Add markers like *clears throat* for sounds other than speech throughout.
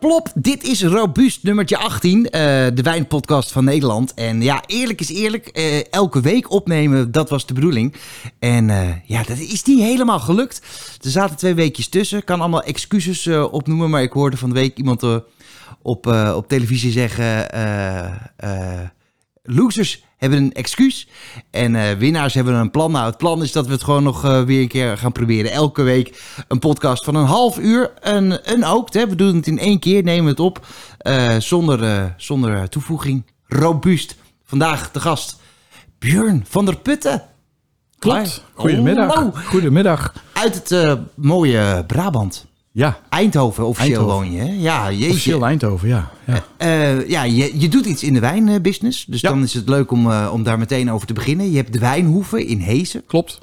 plop. Dit is Robuust nummertje 18, eh, de wijnpodcast van Nederland. En ja, eerlijk is eerlijk, eh, elke week opnemen, dat was de bedoeling. En eh, ja, dat is niet helemaal gelukt. Er zaten twee weekjes tussen, Ik kan allemaal excuses eh, opnoemen, maar ik hoorde van de week iemand eh, op, eh, op televisie zeggen... eh, eh, losers hebben een excuus en eh, winnaars hebben een plan. Nou, het plan is dat we het gewoon nog eh, weer een keer gaan proberen. Elke week een podcast van een half uur. Een, een ook, hè. we doen het in één keer, nemen het op eh, zonder, eh, zonder toevoeging. Robuust. Vandaag de gast Björn van der Putten. Klopt. Hi. Goedemiddag. Hallo. Goedemiddag. Uit het eh, mooie Brabant. Ja, Eindhoven, officieel Eindhoven. woon je. hè? Ja, jeetje. officieel Eindhoven, ja. ja. Eh, ja, je, je doet iets in de wijnbusiness. Dus Ja. dan is het leuk om, eh, om daar meteen over te beginnen. Je hebt de wijnhoeven in Hezen. Klopt.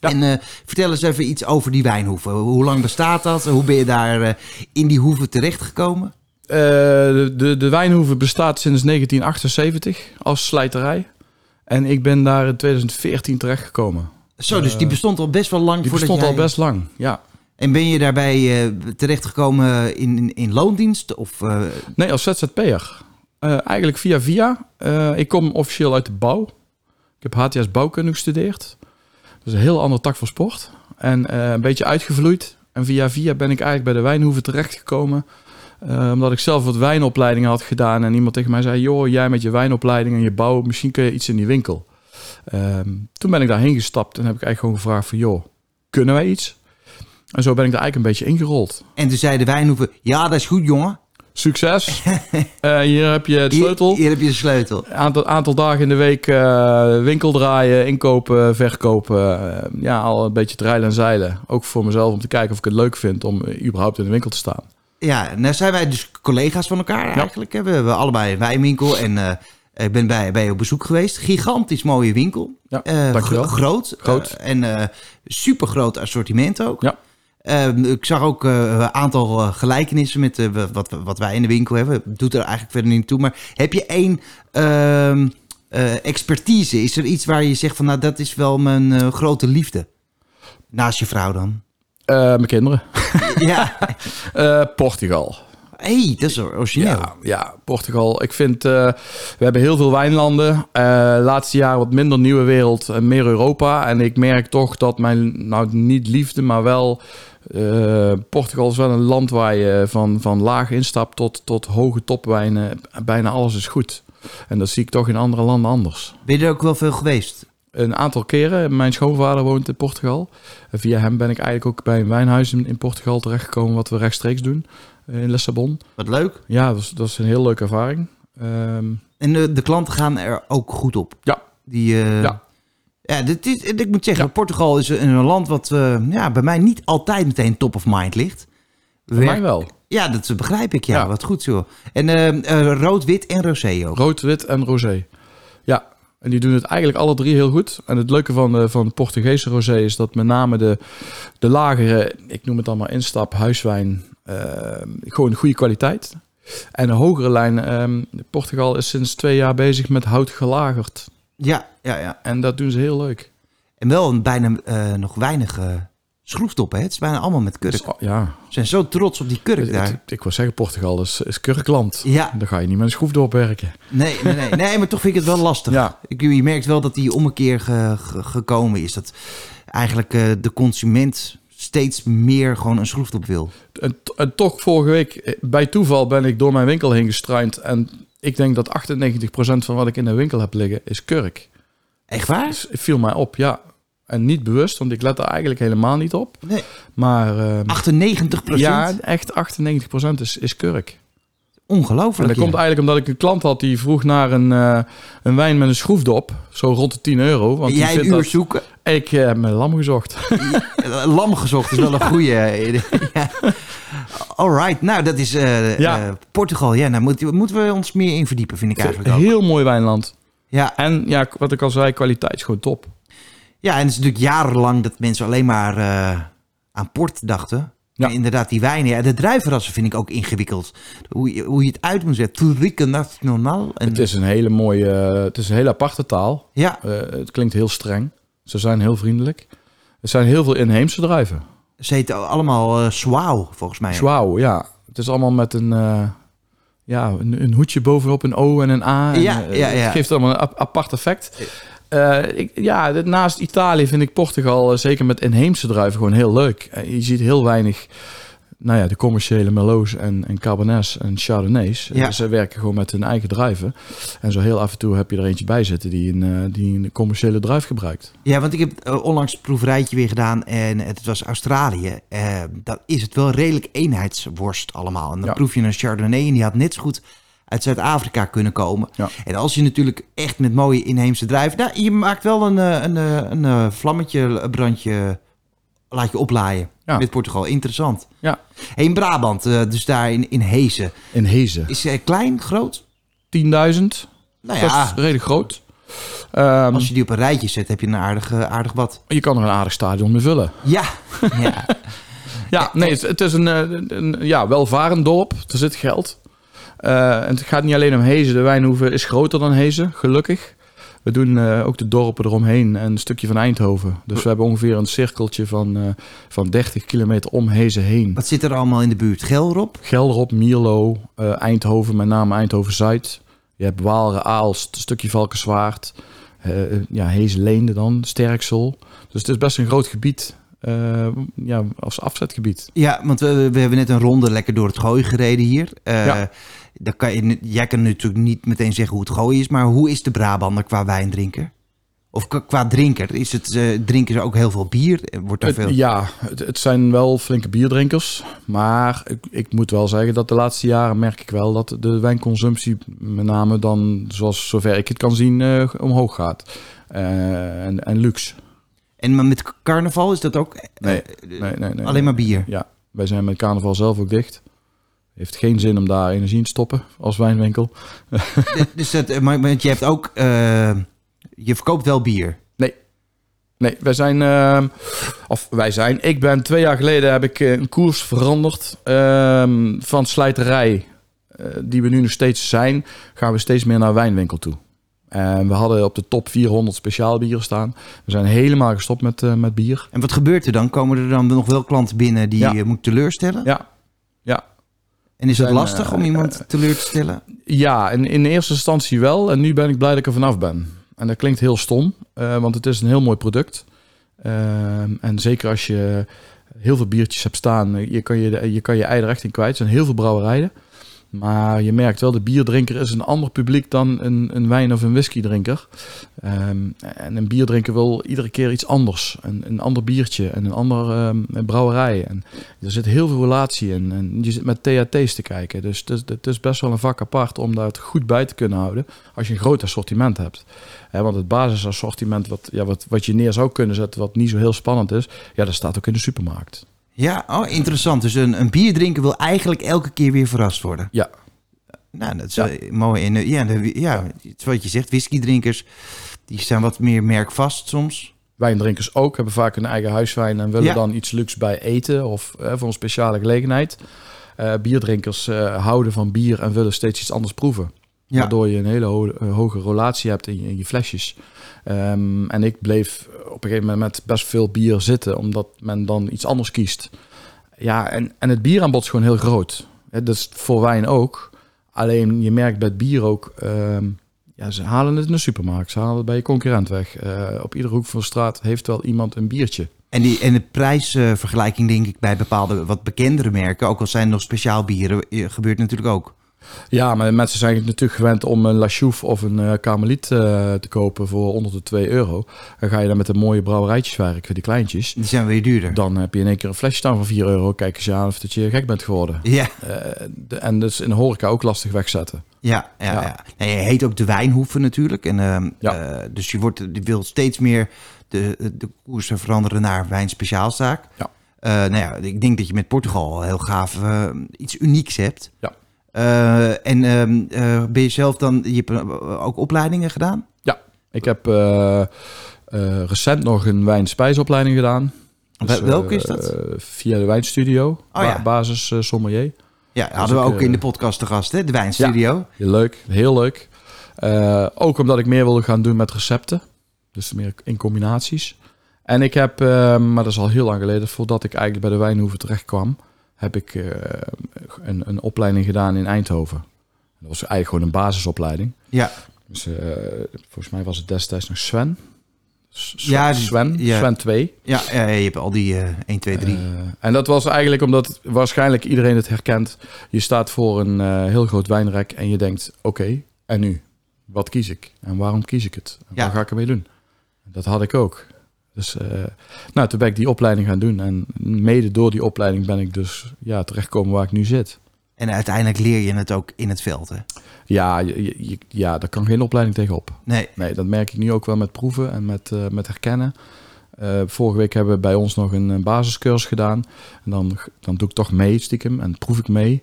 Ja. En eh, vertel eens even iets over die wijnhoeven. Hoe lang bestaat dat? Hoe ben je daar eh, in die hoeve terechtgekomen? Eh, de, de, de Wijnhoeve bestaat sinds 1978 als slijterij. En ik ben daar in 2014 terechtgekomen. Zo, dus die bestond al best wel lang Eh, Die voordat bestond jij... al best lang, ja. En ben je daarbij eh, terechtgekomen in, in, in loondienst? Of, eh, Nee, als ZZP'er. Eh, eigenlijk via via. Eh, ik kom officieel uit de bouw. Ik heb HTS bouwkunde gestudeerd. Dat is een heel andere tak van sport. En eh, een beetje uitgevloeid. En via via ben ik eigenlijk bij de wijnhoeve terechtgekomen. Eh, omdat ik zelf wat wijnopleidingen had gedaan. En iemand tegen mij zei, joh, jij met je wijnopleiding en je bouw, misschien kun je iets in die winkel. Ehm, toen ben ik daarheen gestapt en heb ik eigenlijk gewoon gevraagd van, joh, kunnen wij iets? En zo ben ik daar eigenlijk een beetje ingerold. en toen zei de wijnhoeven, ja, dat is goed, jongen. Succes. Eh, hier heb je de sleutel. Hier, hier heb je de sleutel. Aantal, aantal dagen in de week eh, winkel draaien, inkopen, verkopen. eh, ja, al een beetje te rijlen en zeilen. Ook voor mezelf om te kijken of ik het leuk vind om eh, überhaupt in de winkel te staan. Ja, nou zijn wij dus collega's van elkaar eigenlijk. hè. We hebben allebei een wijnwinkel en eh, ik ben bij, bij je op bezoek geweest. Gigantisch mooie winkel. Ja, Eh, dankjewel. gro- groot. Groot. eh, en super groot assortiment ook. Ja. Eh, ik zag ook eh, een aantal eh, gelijkenissen met eh, wat, wat wij in de winkel hebben. Doet er eigenlijk verder niet toe. Maar heb je één ehm, eh, expertise? Is er iets waar je zegt van nou dat is wel mijn eh, grote liefde? Naast je vrouw *laughs* dan. Eh, mijn kinderen. ja, Eh, Portugal. hey, dat is origineel. Ja, ja, Portugal. Ik vind, eh, we hebben heel veel wijnlanden. Eh laatste jaar wat minder nieuwe wereld en meer Europa. En ik merk toch dat mijn, nou niet liefde, maar wel... eh, Portugal is wel een land waar je van, van laag instap tot, tot hoge topwijnen. Bijna alles is goed. En dat zie ik toch in andere landen anders. Ben je er ook wel veel geweest? Een aantal keren, mijn schoonvader woont in Portugal. En via hem ben ik eigenlijk ook bij een wijnhuis in, in Portugal terechtgekomen... wat we rechtstreeks doen eh, in Lissabon. Wat leuk. Ja, dat is, dat is een heel leuke ervaring. Ehm, En de, de klanten gaan er ook goed op. Ja. Die, eh, ja. Ja. dit is, ik moet zeggen, Portugal is een een land wat eh, ja, bij mij niet altijd meteen top of mind ligt. voor Werk- mij wel. Ja, dat begrijp ik. Ja, Ja. wat goed zo. En eh, eh, rood, wit en rosé ook. Rood, wit en rosé. Ja, en die doen het eigenlijk alle drie heel goed. En het leuke van de, van de Portugese rosé is dat met name de, de lagere, ik noem het allemaal instap, huiswijn, ehm, gewoon goede kwaliteit. En de hogere lijn, ehm, Portugal is sinds twee jaar bezig met hout gelagerd. Ja, ja, ja. En dat doen ze heel leuk. En wel een bijna eh, nog weinig eh, schroefdoppen. Hè? Het is bijna allemaal met kurk. Dus, oh, ja, Ze zijn zo trots op die kurk Het- daar. het- ik wil zeggen, Portugal is, is kurkland. Ja. Daar ga je niet met een schroef doorwerken. Nee, nee, nee. nee, maar toch vind ik het wel lastig. Ja. Ik, je merkt wel dat die ommekeer ge- ge- gekomen is. Dat eigenlijk eh, de consument steeds meer gewoon een schroefdop wil. En, t- en toch vorige week, eh, bij toeval ben ik door mijn winkel heen gestruind. En ik denk dat 98% van wat ik in de winkel heb liggen is kurk. Echt waar? Dus het viel mij op, ja. En niet bewust, want ik let er eigenlijk helemaal niet op. Nee. Maar ehm, 98 procent? ja, echt 98% is, is kurk. En Ongelooflijk. dat ja. komt eigenlijk omdat ik een klant had die vroeg naar een, eh, een wijn met een schroefdop. Zo rond de 10 euro. Want die Jij een vindt uur dat- zoeken? Eh, Ik eh, heb mijn lam gezocht. Lam gezocht is wel een goede. *laughs* ja. Alright, nou dat is eh, Ja. eh, Portugal. Ja, nou moet, moeten we ons meer in verdiepen, vind ik eigenlijk ook. Heel mooi wijnland. Ja. En ja, wat ik al zei, kwaliteit is gewoon top. ja, en het is natuurlijk jarenlang dat mensen alleen maar eh, aan port dachten. Ja. En inderdaad, die wijnen. Ja, de druivenrassen vind ik ook ingewikkeld. Hoe je, hoe je het uit moet zetten. Turrica Nacional. En, Het is een hele mooie, eh, het is een hele aparte taal. Ja, Eh, het klinkt heel streng. Ze zijn heel vriendelijk. Ah, Er zijn heel veel inheemse druiven. ze heten allemaal eh Swau, volgens mij. Zwauw, ja. Het is allemaal met een, eh, ja, een, een hoedje bovenop een O en een A. En, Ja, eh, ja, ja. Het geeft allemaal een ap- apart effect. Eh, ik, ja, dit- naast Italië vind ik Portugal, eh, zeker met inheemse druiven, gewoon heel leuk. Eh, je ziet heel weinig, nou ja, de commerciële Merlots en, en Cabernets en Chardonnays. Eh, Ja. Ze werken gewoon met hun eigen druiven. En zo heel af en toe heb je er eentje bij zitten die een, eh, die een commerciële druif gebruikt. Ja, want ik heb eh, onlangs een proeverijtje weer gedaan en het was Australië. Eh, dan is het wel redelijk eenheidsworst allemaal. En dan Ja. proef je een Chardonnay en die had net zo goed uit Zuid-Afrika kunnen komen. Ja. En als je natuurlijk echt met mooie inheemse druiven... Nou, je maakt wel een, eh, een, eh, een, eh, vlammetje, een brandje, laat je oplaaien Ja. met Portugal. Interessant. Ja. Hey, in Brabant, eh, dus daar in, in Hezen. In Hezen. Is hij klein, groot? 10.000. Nou Dat ja, is redelijk groot. Ehm, als je die op een rijtje zet, heb je een aardig, eh, aardig wat. Je kan er een aardig stadion mee vullen. Ja, ja. Ja, nee, het, het is een, eh, een, een- ja, welvarend dorp. Er zit geld. Eh, en het gaat niet alleen om Hezen. De Wijnhoeve is groter dan Hezen, gelukkig. We doen eh, ook de dorpen eromheen en een stukje van Eindhoven. Dus we hebben ongeveer een cirkeltje van, eh, van 30 kilometer om Hezen heen. Wat zit er allemaal in de buurt? Gelderop? Gelderop, Mierlo, eh, Eindhoven, met name Eindhoven-Zuid. Je hebt Waalre, Aalst, een stukje Valkenswaard. eh ja, Hezenleende dan, Sterksel. Dus het is best een groot gebied. eh, ja, als afzetgebied. Ja, want we, we hebben net een ronde lekker door het gooien gereden hier. Eh, Ja. dan kan je, ni- jij kan natuurlijk niet meteen zeggen hoe het gooien is, maar hoe is de Brabander qua wijndrinker? Of qua, qua drinker? Is het, eh, drinken ze ook heel veel bier? Eh, Wordt daar Het- veel... ja, het, het zijn wel flinke bierdrinkers. Maar ik, ik moet wel zeggen dat de laatste jaren merk ik wel dat de wijnconsumptie met name dan, zoals zover ik het kan zien, eh, omhoog gaat. Eh, en, en luxe. En maar met k- carnaval is dat ook eh, Nee, eh, Nee, nee, nee. alleen maar bier? Ja, wij zijn met carnaval zelf ook dicht. Heeft geen zin om daar energie in te stoppen als wijnwinkel. dus dat, eh, maar, want je hebt ook... eh, je verkoopt wel bier. Nee, wij zijn, ehm, of wij zijn, ik ben twee jaar geleden heb ik eh, een koers veranderd ehm, van slijterij, eh, die we nu nog steeds zijn, gaan we steeds meer naar wijnwinkel toe. En we hadden op de top 400 speciaal bieren staan. We zijn helemaal gestopt met, eh, met bier. En wat gebeurt er dan? Komen er dan nog wel klanten binnen die Ja. je moet teleurstellen? Ja, ja. En is het Zijn, lastig eh, om iemand teleur te stellen? Ja, in, in eerste instantie wel. En nu ben ik blij dat ik er vanaf ben. En dat klinkt heel stom, eh, want het is een heel mooi product. Ehm, en zeker als je heel veel biertjes hebt staan, eh, je kan je, je, kan je ei er echt in kwijt. Er zijn heel veel brouwerijen. Maar je merkt wel, de bierdrinker is een ander publiek dan een, een wijn- of een whiskydrinker. Ehm, en een bierdrinker wil iedere keer iets anders. Een, een ander biertje en een ander ehm, een brouwerij. En er zit heel veel relatie in. En je zit met THT's te kijken. Dus het is, het is best wel een vak apart om daar het goed bij te kunnen houden. Als je een groot assortiment hebt. Hè, want het basisassortiment wat, ja, wat, wat je neer zou kunnen zetten, wat niet zo heel spannend is. Ja, dat staat ook in de supermarkt. Ja, oh, interessant. Dus een, een bier drinken wil eigenlijk elke keer weer verrast worden. Ja. Nou, dat is Ja. eh, mooi. En, eh, ja, de- ja, het is wat je zegt, whiskydrinkers, die zijn wat meer merkvast soms. Wijndrinkers ook hebben vaak hun eigen huiswijn en willen Ja. dan iets luxe bij eten of eh, voor een speciale gelegenheid. Eh, bierdrinkers eh, houden van bier en willen steeds iets anders proeven. Ja. Waardoor je een hele ho- eh, hoge relatie hebt in je, in je flesjes. Ehm, en ik bleef op een gegeven moment met best veel bier zitten, omdat men dan iets anders kiest. Ja, en, en het bieraanbod is gewoon heel groot. Hè, Dat is voor wijn ook. Alleen je merkt bij het bier ook, ehm, ja, ze halen het in de supermarkt, ze halen het bij je concurrent weg. Eh, op iedere hoek van de straat heeft wel iemand een biertje. En, die, en de prijsvergelijking, denk ik, bij bepaalde wat bekendere merken, ook al zijn er nog speciaal bieren, eh, gebeurt natuurlijk ook. Ja, maar mensen zijn natuurlijk gewend om een La Chouffe of een eh Karmeliet eh, te kopen voor onder de 2 euro. Dan ga je dan met de mooie brouwerijtjes werken, die kleintjes. Die zijn weer duurder. Dan heb je in één keer een flesje staan van 4 euro. Kijk eens aan of dat je gek bent geworden. Ja, Eh, de- en dus in de horeca ook lastig wegzetten. ja, ja. ja. Ja. Nee, je heet ook de wijnhoeven natuurlijk. En, ehm, Ja. eh, dus je, wordt, je wil steeds meer de, de koersen veranderen naar wijnspeciaalzaak. Ja. Eh, nou ja, ik denk dat je met Portugal heel gaaf eh, iets unieks hebt. Ja. Eh, en ehm, eh, ben je zelf dan, je hebt eh, ook opleidingen gedaan? Ik heb eh, eh, recent nog een wijnspijsopleiding gedaan. Wel- welke eh, is dat? Oh eh, via de wijnstudio, ba- ja. basis eh, sommelier. Ja, hadden we ook, ook in eh, de podcast te gast, hè? De Wijnstudio. Heel leuk, heel leuk. Eh, ook omdat ik meer wilde gaan doen met recepten. Dus meer in combinaties. En ik heb, eh, maar dat is al heel lang geleden, voordat ik eigenlijk bij de wijnhoeven terecht kwam, heb ik eh, een, een opleiding gedaan in Eindhoven. Dat was eigenlijk gewoon een basisopleiding. Ja. Dus, eh, volgens mij was het destijds nog Sven. S- Sven, Ja, die- Sven, ja. Sven 2. Ja, ja, je hebt al die eh 1, 2, 3. Eh, en dat was eigenlijk omdat waarschijnlijk iedereen het herkent. Je staat voor een eh, heel groot wijnrek en je denkt, oké, en nu? Wat kies ik? En waarom kies ik het? En Ja. Wat ga ik ermee doen? Dat had ik ook. Dus eh, nou, toen ben ik die opleiding gaan doen. En mede door die opleiding ben ik dus ja, terechtgekomen waar ik nu zit. En uiteindelijk leer je het ook in het veld, hè? Ja, je, je- je- ja daar kan geen opleiding tegenop. Nee. Nee, dat merk ik nu ook wel met proeven en met, eh, met herkennen. Eh, vorige week hebben we bij ons nog een, eh, basiscursus gedaan. En dan, dan doe ik toch mee stiekem en proef ik mee.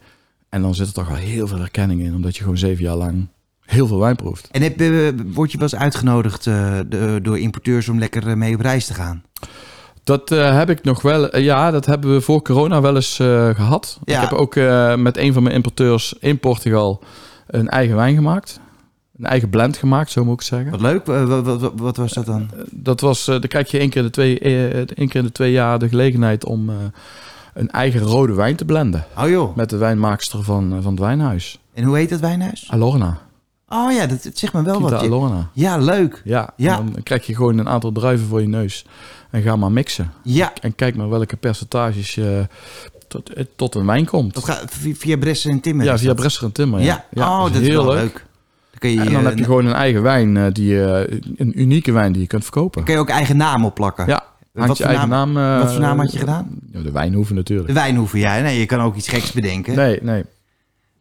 En dan zit er toch wel heel veel herkenning in, omdat je gewoon zeven jaar lang heel veel wijn proeft. En heb, eh, word je wel eens uitgenodigd eh, de- door importeurs om lekker eh, mee op reis te gaan? Dat eh, heb ik nog wel. eh, ja, dat hebben we voor corona wel eens eh, gehad. Ja. Ik heb ook eh, met een van mijn importeurs in Portugal een eigen wijn gemaakt. Een eigen blend gemaakt, zo moet ik het zeggen. Wat leuk. Eh, wa- wa- wa- wat was dat dan? dat was, eh, dan krijg je één keer, in de twee, eh, één keer in de twee jaar de gelegenheid om eh, een eigen rode wijn te blenden. Oh joh. eh, Met de wijnmaakster van, eh, van het wijnhuis. En hoe heet dat wijnhuis? Alorna. Oh ja, dat, dat zegt me wel Kita wat. Alorna. Ja, leuk. Ja, Ja. en dan krijg je gewoon een aantal druiven voor je neus. En ga maar mixen. Ja, En kijk maar welke percentages je tot, eh, tot een wijn komt. dat gaat via, via Bressen en Timmer. ja, is via dat? Bresser en Timmer. Ja. Ja, oh, dat is heel wel leuk. Dan kun je, En dan eh, heb je gewoon een eigen wijn, eh, die, eh, een unieke wijn die je kunt verkopen. kun je ook eigen naam opplakken. Ja, hangt Wat je voor eigen naam. eh, Wat voor naam had je gedaan? Ja, de wijnhoeven natuurlijk. De wijnhoeven, ja. Nee, je kan ook iets geks bedenken. Nee, nee.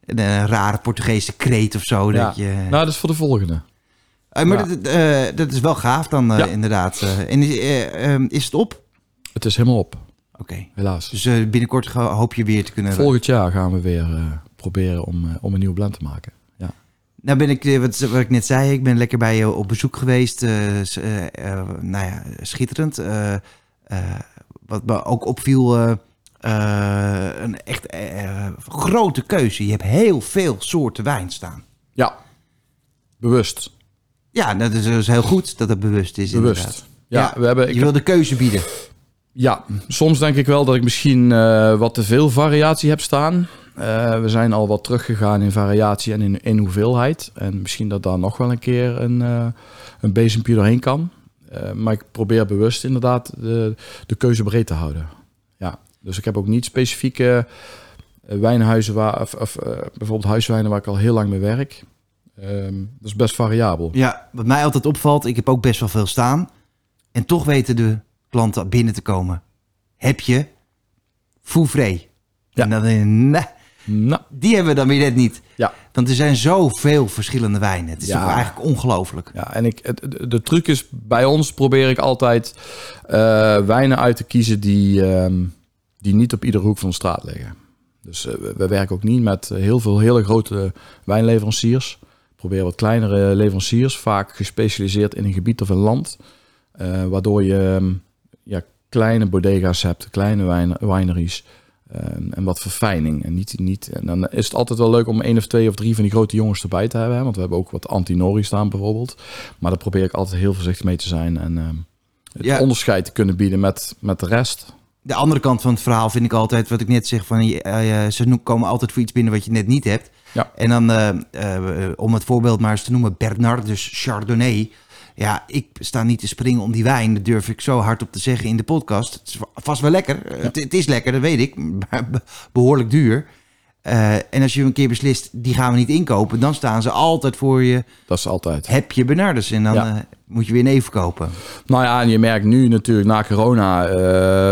Een eh, rare Portugese kreet of zo. Ja. Dat je... Nou, dat is voor de volgende. Eh, maar ja. dat, eh, dat is wel gaaf dan, eh, Ja. inderdaad. Eh, en eh, ehm, is het op? Het is helemaal op, Oké. helaas. Dus eh, binnenkort ga- hoop je weer te kunnen... Volgend jaar gaan we weer eh, proberen om, eh, om een nieuwe blend te maken. Nou ben ik, eh, wat, wat ik net zei, ik ben lekker bij je op bezoek geweest. eh, s- eh, eh, nou ja, schitterend. Eh, eh, wat me ook opviel, eh, eh, een echt eh, grote keuze. Je hebt heel veel soorten wijn staan. Ja, bewust. Ja, dat is, dat is heel goed dat het bewust is inderdaad. Bewust. Ja, Ja, we hebben, ik, Je wil de keuze bieden. ja, soms denk ik wel dat ik misschien eh, wat te veel variatie heb staan. Eh, we zijn al wat teruggegaan in variatie en in, in hoeveelheid. En misschien dat daar nog wel een keer een, eh een bezempje doorheen kan. Eh, maar ik probeer bewust inderdaad de, de keuze breed te houden. Ja, dus ik heb ook niet specifieke eh, wijnhuizen waar, of, of, eh, bijvoorbeeld huiswijnen waar ik al heel lang mee werk. Ehm, dat is best variabel. Ja, wat mij altijd opvalt, ik heb ook best wel veel staan. En toch weten de klanten binnen te komen. Heb je Fouvray? Ja. En dan denk je, nee, Nou, die hebben we dan weer net niet. Ja. Want er zijn zoveel verschillende wijnen. Het is Ja. toch eigenlijk ongelooflijk. Ja, en ik, het- de, de truc is, bij ons probeer ik altijd eh, wijnen uit te kiezen die, ehm, die niet op iedere hoek van de straat liggen. Dus eh, we, we werken ook niet met eh, heel veel hele grote wijnleveranciers. We proberen wat kleinere leveranciers, vaak gespecialiseerd in een gebied of een land. eh, waardoor je ehm, ja, kleine bodega's hebt, kleine wijn, wineries. ehm, en wat verfijning. En, niet, niet, en dan is het altijd wel leuk om één of twee of drie van die grote jongens erbij te hebben. Hè? Want we hebben ook wat antinori staan bijvoorbeeld. Maar daar probeer ik altijd heel voorzichtig mee te zijn. En ehm, het Ja. onderscheid te kunnen bieden met, met de rest. De andere kant van het verhaal vind ik altijd wat ik net zeg. Van, je- eh, eh, ze no- komen altijd voor iets binnen wat je net niet hebt. Ja. En dan, eh, eh, eh, om het voorbeeld maar eens te noemen, Bernard, dus Chardonnay. Ja, ik sta niet te springen om die wijn. Dat durf ik zo hard op te zeggen in de podcast. Het is va- vast wel lekker. Eh, Het, het is lekker, dat weet ik. *laughs* Maar be- behoorlijk duur. Eh, en als je een keer beslist, die gaan we niet inkopen. Dan staan ze altijd voor je. Dat is altijd. Heb je Bernardus? En dan Ja. eh, moet je weer een even kopen. Nou ja, en je merkt nu natuurlijk na corona, eh,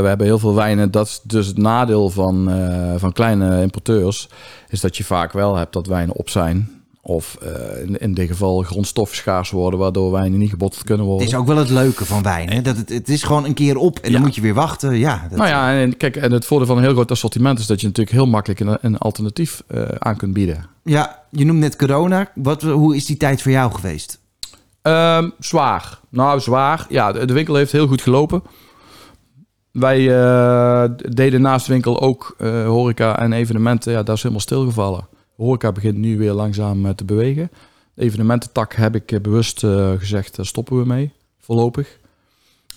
we hebben heel veel wijnen. Dat is dus het nadeel van, eh, van kleine importeurs, is dat je vaak wel hebt dat wijnen op zijn. Of eh, in, in dit geval grondstoffen schaars worden, waardoor wijnen niet gebotteld kunnen worden. Het is ook wel het leuke van wijn. Hè? Dat het, het is gewoon een keer op en dan Ja. moet je weer wachten. Ja, dat, Nou ja, en kijk, en het voordeel van een heel groot assortiment is dat je natuurlijk heel makkelijk een, een alternatief eh, aan kunt bieden. ja, je noemt net corona. Wat, hoe is die tijd voor jou geweest? Ehm, zwaar. Nou, zwaar. Ja, de, de winkel heeft heel goed gelopen. Wij eh, d- deden naast de winkel ook eh, horeca en evenementen. Ja, daar is helemaal stilgevallen. Horeca begint nu weer langzaam eh, te bewegen. De evenemententak heb ik eh, bewust eh, gezegd, daar stoppen we mee. Voorlopig.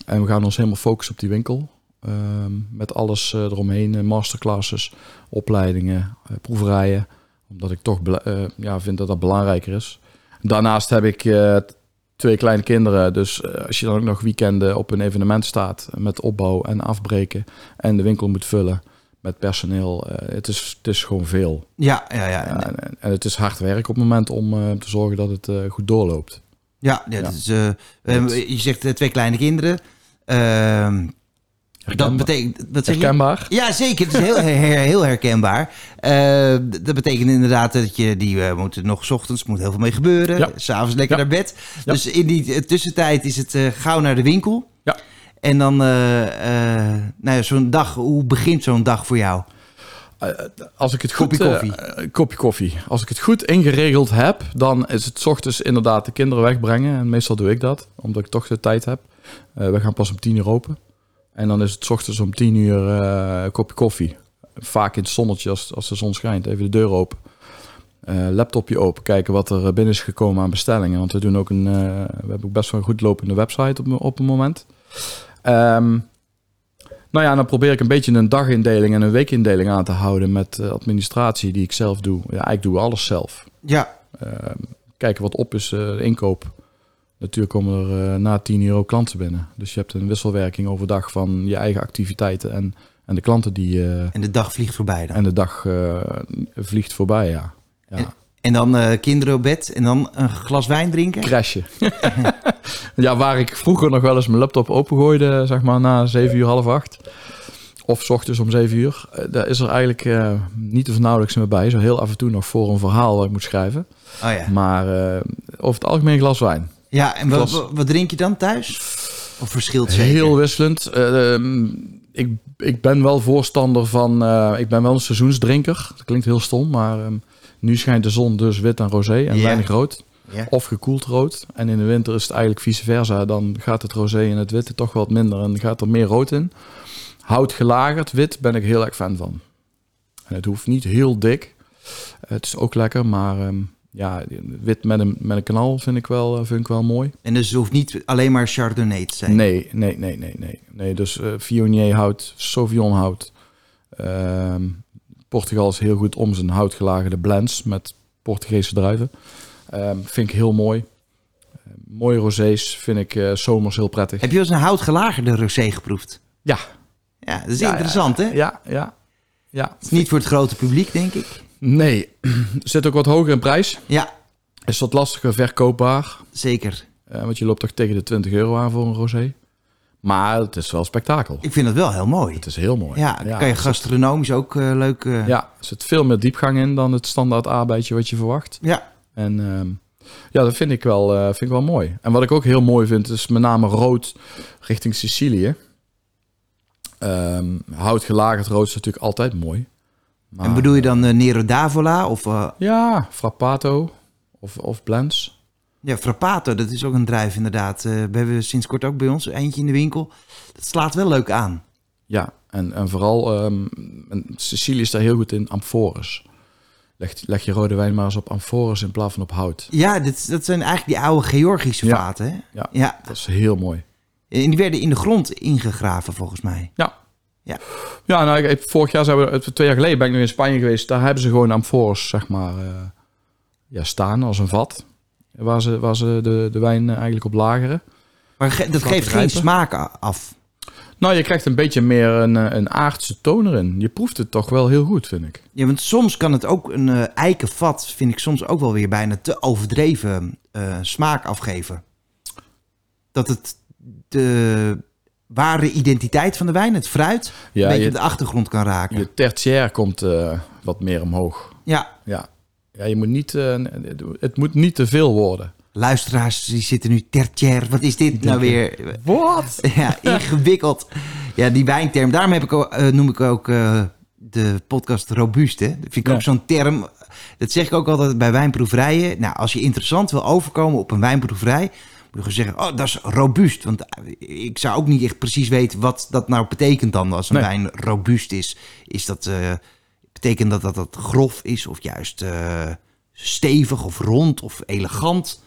En we gaan ons helemaal focussen op die winkel. Ehm, met alles eh, eromheen, eh, masterclasses, opleidingen, eh, proeverijen. Omdat ik toch bela- eh, ja, vind dat dat belangrijker is. Daarnaast heb ik eh, t- twee kleine kinderen. Dus eh, als je dan ook nog weekenden op een evenement staat met opbouw en afbreken en de winkel moet vullen met personeel, eh, het, is, het is gewoon veel. Ja, ja, ja. Ja, en, en het is hard werk op het moment om eh, te zorgen dat het eh, goed doorloopt. Ja, ja, dat is, eh, eh, Dat- je zegt eh, twee kleine kinderen. Ehm, dat Herkenbaar. betekent... Wat zeg je? Herkenbaar? Ja, zeker. Het is heel, her- heel herkenbaar. Eh, d- dat betekent inderdaad dat je die eh, moet nog 's ochtends moet heel veel mee gebeuren. Ja. S'avonds lekker Ja. naar bed. Ja. Dus in die eh, tussentijd is het eh, gauw naar de winkel. Ja. En dan, eh, eh, nou ja, zo'n dag, hoe begint zo'n dag voor jou? Als ik het goed, Kopje eh, koffie. eh, kopje koffie. Als ik het goed ingeregeld heb, dan is het 's ochtends inderdaad de kinderen wegbrengen. En meestal doe ik dat, omdat ik toch de tijd heb. Eh, we gaan pas om tien uur open. En dan is het 's ochtends om tien uur eh, een kopje koffie. Vaak in het zonnetje als, als de zon schijnt. Even de deur open. Eh, laptopje open, kijken wat er eh, binnen is gekomen aan bestellingen. Want we doen ook een. eh, we hebben ook best wel een goed lopende website op, op het moment. Ehm, nou ja, dan probeer ik een beetje een dagindeling en een weekindeling aan te houden met eh, administratie die ik zelf doe. Ja, eigenlijk doen we alles zelf. Ja, Ehm, kijken wat op is, eh, de inkoop. Natuurlijk komen er eh, na 10 euro klanten binnen. Dus je hebt een wisselwerking overdag van je eigen activiteiten en, en de klanten die... eh, en de dag vliegt voorbij dan. en de dag eh, vliegt voorbij, ja. ja. En dan eh, kinderen op bed en dan een glas wijn drinken. Oh Crashen. *laughs* ja, waar ik vroeger nog wel eens mijn laptop opengooide, zeg maar na 7 uur, half acht. Of 's ochtends om 7 uur. eh, Daar is er eigenlijk eh, niet of nauwelijks meer bij. Zo heel af en toe nog voor een verhaal wat ik moet schrijven. Oh ja. Maar eh, over het algemeen een glas wijn. Ja, en wat, Glas. wat, wat drink je dan thuis? Of verschilt zeker? Heel wisselend. Eh, ehm, ik, ik ben wel voorstander van. eh, ik ben wel een seizoensdrinker. Dat klinkt heel stom, maar ehm, nu schijnt de zon dus wit en rosé en Ja. weinig rood. Ja. Of gekoeld rood. En in de winter is het eigenlijk vice versa. Dan gaat het rosé en het witte toch wat minder en gaat er meer rood in. Hout gelagerd, wit ben ik heel erg fan van. En het hoeft niet heel dik. Het is ook lekker, maar ehm, ja, wit met een, met een knal vind ik wel, eh, vind ik wel mooi. En dus het hoeft niet alleen maar Chardonnay te zijn. Nee, nee, nee, nee, nee. nee dus eh Viognier hout, Sauvignon hout. Ehm, Portugal is heel goed om zijn houtgelagerde blends met Portugese druiven. Ehm, vind ik heel mooi. Eh, mooie rosés vind ik eh, zomers heel prettig. Heb je wel eens een houtgelagerde rosé geproefd? Ja. Ja, dat is Ja, interessant, hè? Ja, ja, ja. Het is niet voor het grote publiek, denk ik. Nee, *clears throat* zit ook wat hoger in prijs. Ja, Is wat lastiger verkoopbaar. zeker. Eh, want je loopt toch tegen de 20 euro aan voor een rosé. Maar het is wel spektakel. Ik vind dat wel heel mooi. Het is heel mooi. Ja, dan kan je gastronomisch ook eh, leuk... eh, ja. Ja, er zit veel meer diepgang in dan het standaard arbeidje wat je verwacht. En ehm, ja, dat vind ik, wel, eh, vind ik wel mooi. En wat ik ook heel mooi vind, is met name rood richting Sicilië. Ehm hout gelagerd rood is natuurlijk altijd mooi. Maar, En bedoel je dan eh, Nero d'Avola of eh, Ja, frappato of, of blends. ja, Frappato? Dat is ook een druif, inderdaad. Eh, we hebben sinds kort ook bij ons eentje in de winkel. Dat slaat wel leuk aan. Ja, en, en vooral ehm, en Sicilië is daar heel goed in, amfores. Leg, leg je rode wijn maar eens op amfores in plaats van op hout. Ja, dit, dat zijn eigenlijk die oude Georgische Ja. vaten, hè? Ja. ja. Dat is heel mooi. En die werden in de grond ingegraven, volgens mij. Ja. Ja. Ja, nou, ik, ik- vorig jaar zijn we, het- twee jaar geleden ben ik nog in Spanje geweest. Daar hebben ze gewoon amfores, zeg maar, eh, ja, staan als een vat. Waar ze, waar ze de, de wijn eh, eigenlijk op lageren. Maar ge- dat Laten geeft geen rijpen. smaak a- af. Nou, je krijgt een beetje meer een, eh, een aardse toon erin. Je proeft het toch wel heel goed, vind ik. Ja, want soms kan het ook een eh, eikenvat, vind ik soms ook wel weer bijna te overdreven eh, smaak afgeven. Dat het de ware identiteit van de wijn, het fruit, een Ja, beetje je, de achtergrond kan raken. je tertiair komt eh, wat meer omhoog. Ja, Ja. Ja, je moet niet, eh, het moet niet te veel worden. luisteraars die zitten nu tertiair, wat is dit nou weer? Wat? *laughs* Ja, ingewikkeld. Ja, die wijnterm. Daarom heb ik, ook, eh, noem ik ook eh, de podcast robuust. Hè? Dat vind ik Ja. ook zo'n term. Dat zeg ik ook altijd bij wijnproeverijen. Nou, als je interessant wil overkomen op een wijnproeverij... moet je gewoon zeggen, oh, dat is robuust. Want eh, ik zou ook niet echt precies weten wat dat nou betekent dan... als een Nee. wijn robuust is. Is dat... eh, betekent dat dat dat grof is of juist eh, stevig of rond of elegant?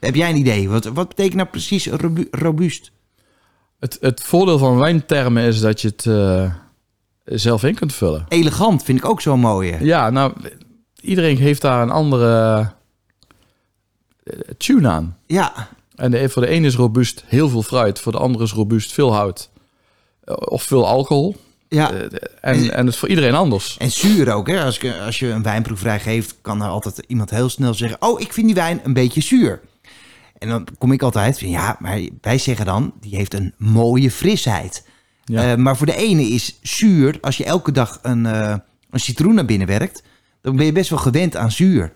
Heb jij een idee? Wat, wat betekent nou precies robu- robuust? Het, het voordeel van wijntermen is dat je het eh, zelf in kunt vullen. Elegant vind ik ook zo'n mooie. Ja, nou, iedereen heeft daar een andere eh, tune aan. Ja, En de, voor de ene is robuust heel veel fruit, voor de andere is robuust veel hout eh, of veel alcohol. ja. Eh, de- En, en het is voor iedereen anders. En zuur ook, hè? Als, ik- als je een wijnproeverij geeft, kan er altijd iemand heel snel zeggen: Oh, ik vind die wijn een beetje zuur. En dan kom ik altijd van ja, maar wij zeggen dan: die heeft een mooie frisheid. Ja. Eh, maar voor de ene is zuur, als je elke dag een, eh, een citroen naar binnen werkt, dan ben je best wel gewend aan zuur.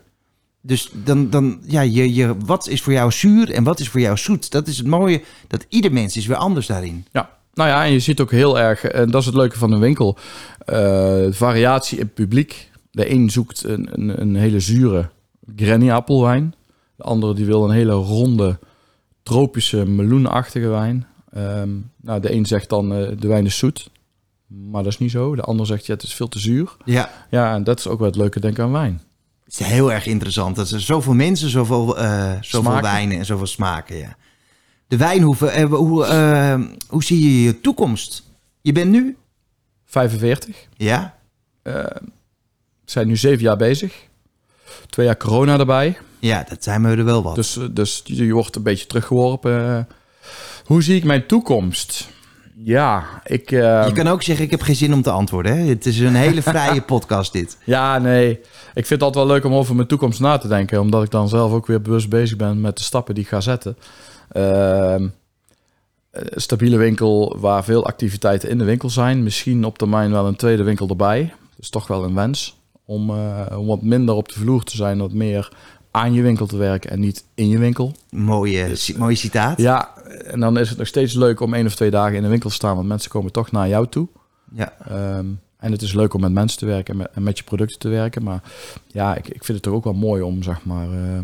Dus dan, dan ja, je, je, wat is voor jou zuur en wat is voor jou zoet? Dat is het mooie, dat ieder mens is weer anders daarin. Ja. Nou ja, en je ziet ook heel erg, en dat is het leuke van de winkel, eh, variatie in publiek. De een zoekt een, een, een hele zure Granny appelwijn. De andere die wil een hele ronde, tropische, meloenachtige wijn. Ehm, nou, de een zegt dan eh, de wijn is zoet, maar dat is niet zo. De ander zegt ja, het is veel te zuur. Ja, Ja, en dat is ook wel het leuke denk aan wijn. Het is heel erg interessant. Dat er zoveel mensen, zoveel, eh, zoveel Smaken. wijnen en zoveel smaken. Ja. De wijnhoeven, eh, hoe, eh, hoe zie je je toekomst? Je bent nu? 45. Ja. Ehm, zijn nu zeven jaar bezig. Twee jaar corona erbij. Ja, dat zijn we er wel wat. Dus, eh, dus je je wordt een beetje teruggeworpen. Eh, Hoe zie ik mijn toekomst? Ja, ik... eh, je kan ook zeggen, ik heb geen zin om te antwoorden. Hè? Het is een hele vrije podcast dit. Ja, nee. Ik vind het altijd wel leuk om over mijn toekomst na te denken. Omdat ik dan zelf ook weer bewust bezig ben met de stappen die ik ga zetten. Ehm, eh, stabiele winkel waar veel activiteiten in de winkel zijn. Misschien op termijn wel een tweede winkel erbij. Dat is toch wel een wens. Om, eh, om wat minder op de vloer te zijn. Wat meer aan je winkel te werken en niet in je winkel. Mooie, ci- mooie citaat. Ja. Ja, en dan is het nog steeds leuk om één of twee dagen in de winkel te staan. Want mensen komen toch naar jou toe. Ehm, en het is leuk om met mensen te werken en met, en met je producten te werken. Maar ja, ik, ik vind het toch ook wel mooi om zeg maar, eh,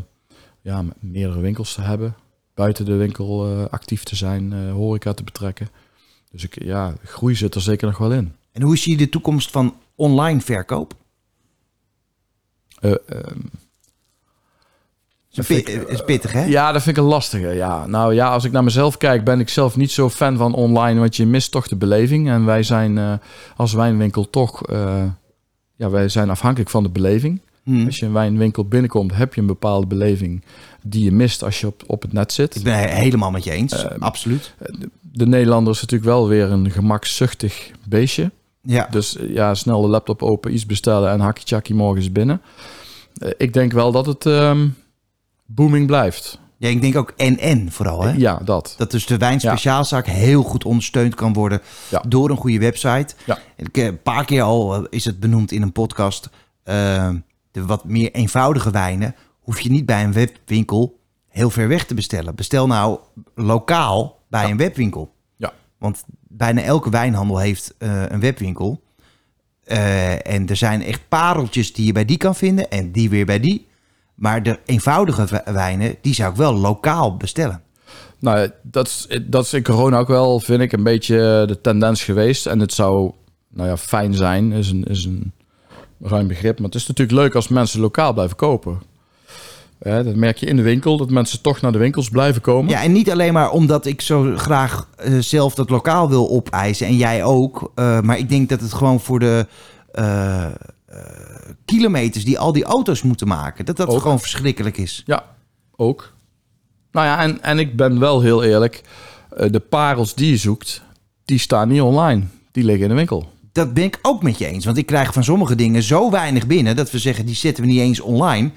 ja, me- meerdere winkels te hebben. Buiten de winkel eh, actief te zijn, eh, horeca te betrekken. Dus ik, ja, groei zit er zeker nog wel in. En hoe zie je de toekomst van online verkoop? Eh, ehm, Dat is, een pi- eh, is pittig, hè? ja, dat vind ik een lastige. Ja. Nou ja, als ik naar mezelf kijk, ben ik zelf niet zo fan van online. Want je mist toch de beleving. En wij zijn eh, als wijnwinkel toch eh, ja, wij zijn afhankelijk van de beleving. Hm. Als je een wijnwinkel binnenkomt, heb je een bepaalde beleving die je mist als je op, op het net Ik zit. ben het helemaal met je eens. Absoluut. De Nederlander is natuurlijk wel weer een gemakszuchtig beestje. Ja. Dus eh, ja, snel de laptop open, iets bestellen en hakkie tjakkie morgens binnen. Eh, Ik denk wel dat het ehm, booming blijft. ja, ik denk ook en-en vooral, hè? Ja, dat. Dat dus de wijnspeciaalzaak heel goed ondersteund kan worden Ja. door een goede website. Ja. Ik, eh, een paar keer al eh, is het benoemd in een podcast. Eh, de wat meer eenvoudige wijnen hoef je niet bij een webwinkel heel ver weg te bestellen. Bestel nou lokaal bij een webwinkel. Ja. Want bijna elke wijnhandel heeft eh, een webwinkel. Eh, en er zijn echt pareltjes die je bij die kan vinden en die weer bij die. Maar de eenvoudige w- wijnen, die zou ik wel lokaal bestellen. Nou, eh, dat is, dat is in corona ook wel, vind ik, een beetje de tendens geweest. En het zou, nou ja, fijn zijn, is een, is een ruim begrip. Maar het is natuurlijk leuk als mensen lokaal blijven kopen. Hè, dat merk je in de winkel, dat mensen toch naar de winkels blijven komen. Ja, en niet alleen maar omdat ik zo graag eh, zelf dat lokaal wil opeisen en jij ook. eh, maar ik denk dat het gewoon voor de eh, eh, kilometers die al die auto's moeten maken, dat dat Ook. gewoon verschrikkelijk is. Ja, ook. Nou ja, en, en ik ben wel heel eerlijk. eh, De parels die je zoekt, die staan niet online. Die liggen in de winkel. Dat ben ik ook met je eens. Want ik krijg van sommige dingen zo weinig binnen dat we zeggen, die zetten we niet eens online.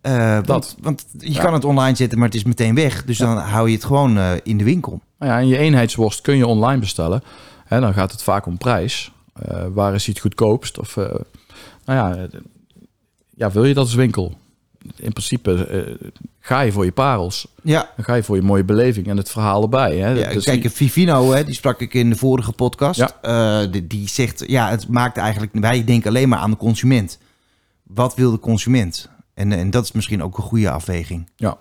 Eh, Want, Dat. want je Ja. kan het online zetten, maar het is meteen weg. Dus dan hou je het gewoon eh, in de winkel. Nou ja, en je eenheidsworst kun je online bestellen. En dan gaat het vaak om prijs. Eh, waar is die het goedkoopst? Of, eh, nou ja, eh, ja, wil je dat als winkel? In principe eh, ga je voor je parels. Ja, Dan ga je voor je mooie beleving en het verhaal erbij. Hè? Ja, Dus kijk, Vivino, hè, die sprak ik in de vorige podcast. Ja. Eh, die, die zegt, ja, het maakt eigenlijk... Wij denken alleen maar aan de consument. Wat wil de consument? En, en dat is misschien ook een goede afweging. Ja.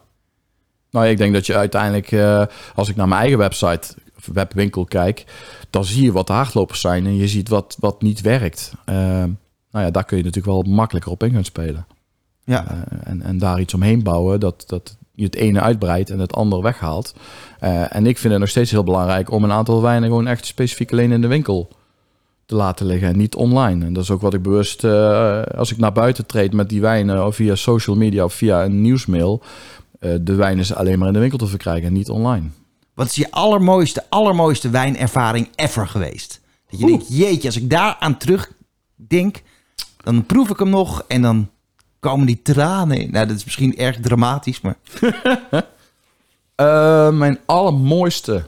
Nou, ik denk dat je uiteindelijk, eh, als ik naar mijn eigen website of webwinkel kijk, dan zie je wat de hardlopers zijn en je ziet wat, wat niet werkt. Ehm, nou ja, daar kun je natuurlijk wel makkelijker op in gaan spelen. Ja, Eh, en, en daar iets omheen bouwen dat, dat je het ene uitbreidt en het andere weghaalt. Eh, en ik vind het nog steeds heel belangrijk om een aantal wijnen gewoon echt specifiek alleen in de winkel te laten liggen en niet online. En dat is ook wat ik bewust, eh, als ik naar buiten treed met die wijnen of via social media of via een nieuwsmail, eh, de wijn is alleen maar in de winkel te verkrijgen en niet online. Wat is je allermooiste, allermooiste wijnervaring ever geweest? Dat je Oeh. denkt, jeetje, als ik daar aan terugdenk, dan proef ik hem nog en dan komen die tranen in. Nou, dat is misschien erg dramatisch, maar Eh, mijn allermooiste.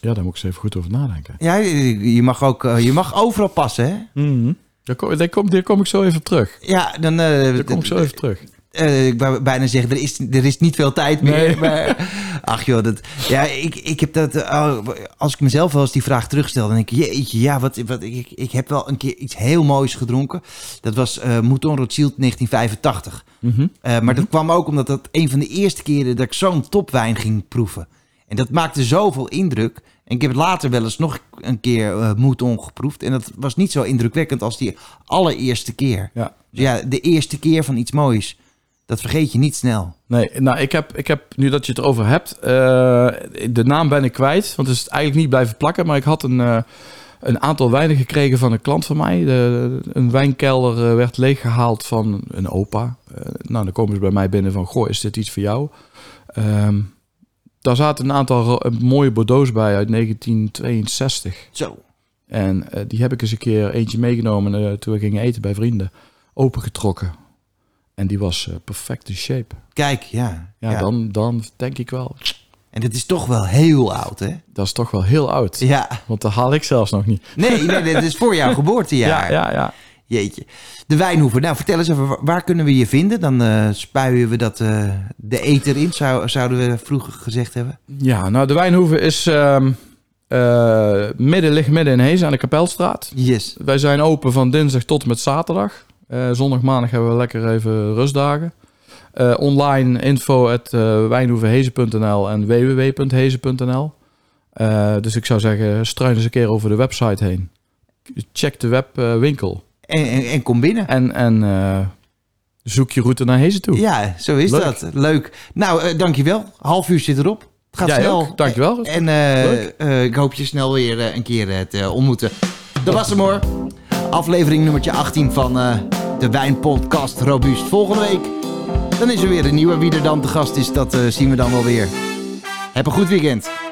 Ja, daar moet ik eens even goed over nadenken. ja, je je mag ook, eh, je mag overal passen, hè? Daar, kom, daar, kom, daar kom ik zo even op terug. Ja, dan, eh, Daar kom ik zo even terug. eh, ik wou bijna zeggen, er is, er is niet veel tijd meer. Nee. Maar, *laughs* ach joh, dat, ja, ik, ik heb dat, eh, als ik mezelf wel eens die vraag terugstel, dan denk ik, jeetje, ja, wat, wat, ik, ik heb wel een keer iets heel moois gedronken. Dat was eh Mouton Rothschild 1985. Mhm. Eh, maar dat kwam ook omdat dat een van de eerste keren dat ik zo'n topwijn ging proeven. En dat maakte zoveel indruk. En ik heb het later wel eens nog een keer eh Mouton geproefd. En dat was niet zo indrukwekkend als die allereerste keer. Ja. Dus ja, de eerste keer van iets moois, dat vergeet je niet snel. Nee, nou, ik heb, ik heb, nu dat je het erover hebt, eh, de naam ben ik kwijt. Want het is eigenlijk niet blijven plakken. Maar ik had een, eh, een aantal wijnen gekregen van een klant van mij. De, een wijnkelder eh, werd leeggehaald van een opa. Eh, nou, dan komen ze bij mij binnen van, goh, is dit iets voor jou? Ehm, daar zaten een aantal ro- eh, mooie Bordeaux's bij uit 1962. Zo. En eh, die heb ik eens een keer eentje meegenomen eh, toen we gingen eten bij vrienden. Opengetrokken. En die was eh, perfect in shape. Kijk, ja. Ja, Dan, dan denk ik wel. En dat is toch wel heel oud, hè? Dat is toch wel heel oud. Ja. Want dat haal ik zelfs nog niet. Nee, nee, dat is voor *laughs* jouw geboortejaar. ja, ja. ja. Jeetje. De Wijnhoeven. Nou, vertel eens even, wa- waar kunnen we je vinden? Dan eh, spuien we dat eh, de eter in, zou, zouden we vroeger gezegd hebben. Ja, nou, de Wijnhoeve is ehm, eh, midden, ligt midden in Hees aan de Kapelstraat. Yes. Wij zijn open van dinsdag tot en met zaterdag. Eh, zondag, maandag hebben we lekker even rustdagen. Eh, online info at eh, wijnhoevenhezen.nl en www.hezen.nl. Eh, dus ik zou zeggen, struin eens een keer over de website heen. Check de webwinkel. En, en, en kom binnen. en en eh, zoek je route naar Hezen toe. Ja, zo is Leuk. dat. Leuk. Nou, eh, dankjewel. Half uur zit erop. Het gaat Jij snel. ook. Dankjewel. En eh, Leuk. eh, ik hoop je snel weer eh, een keer eh, te ontmoeten. Dat was hem hoor. Aflevering nummertje 18 van eh, de Wijnpodcast Robuust. Volgende week dan is er weer een nieuwe. Wie er dan te gast is, dat eh, zien we dan wel weer. Heb een goed weekend.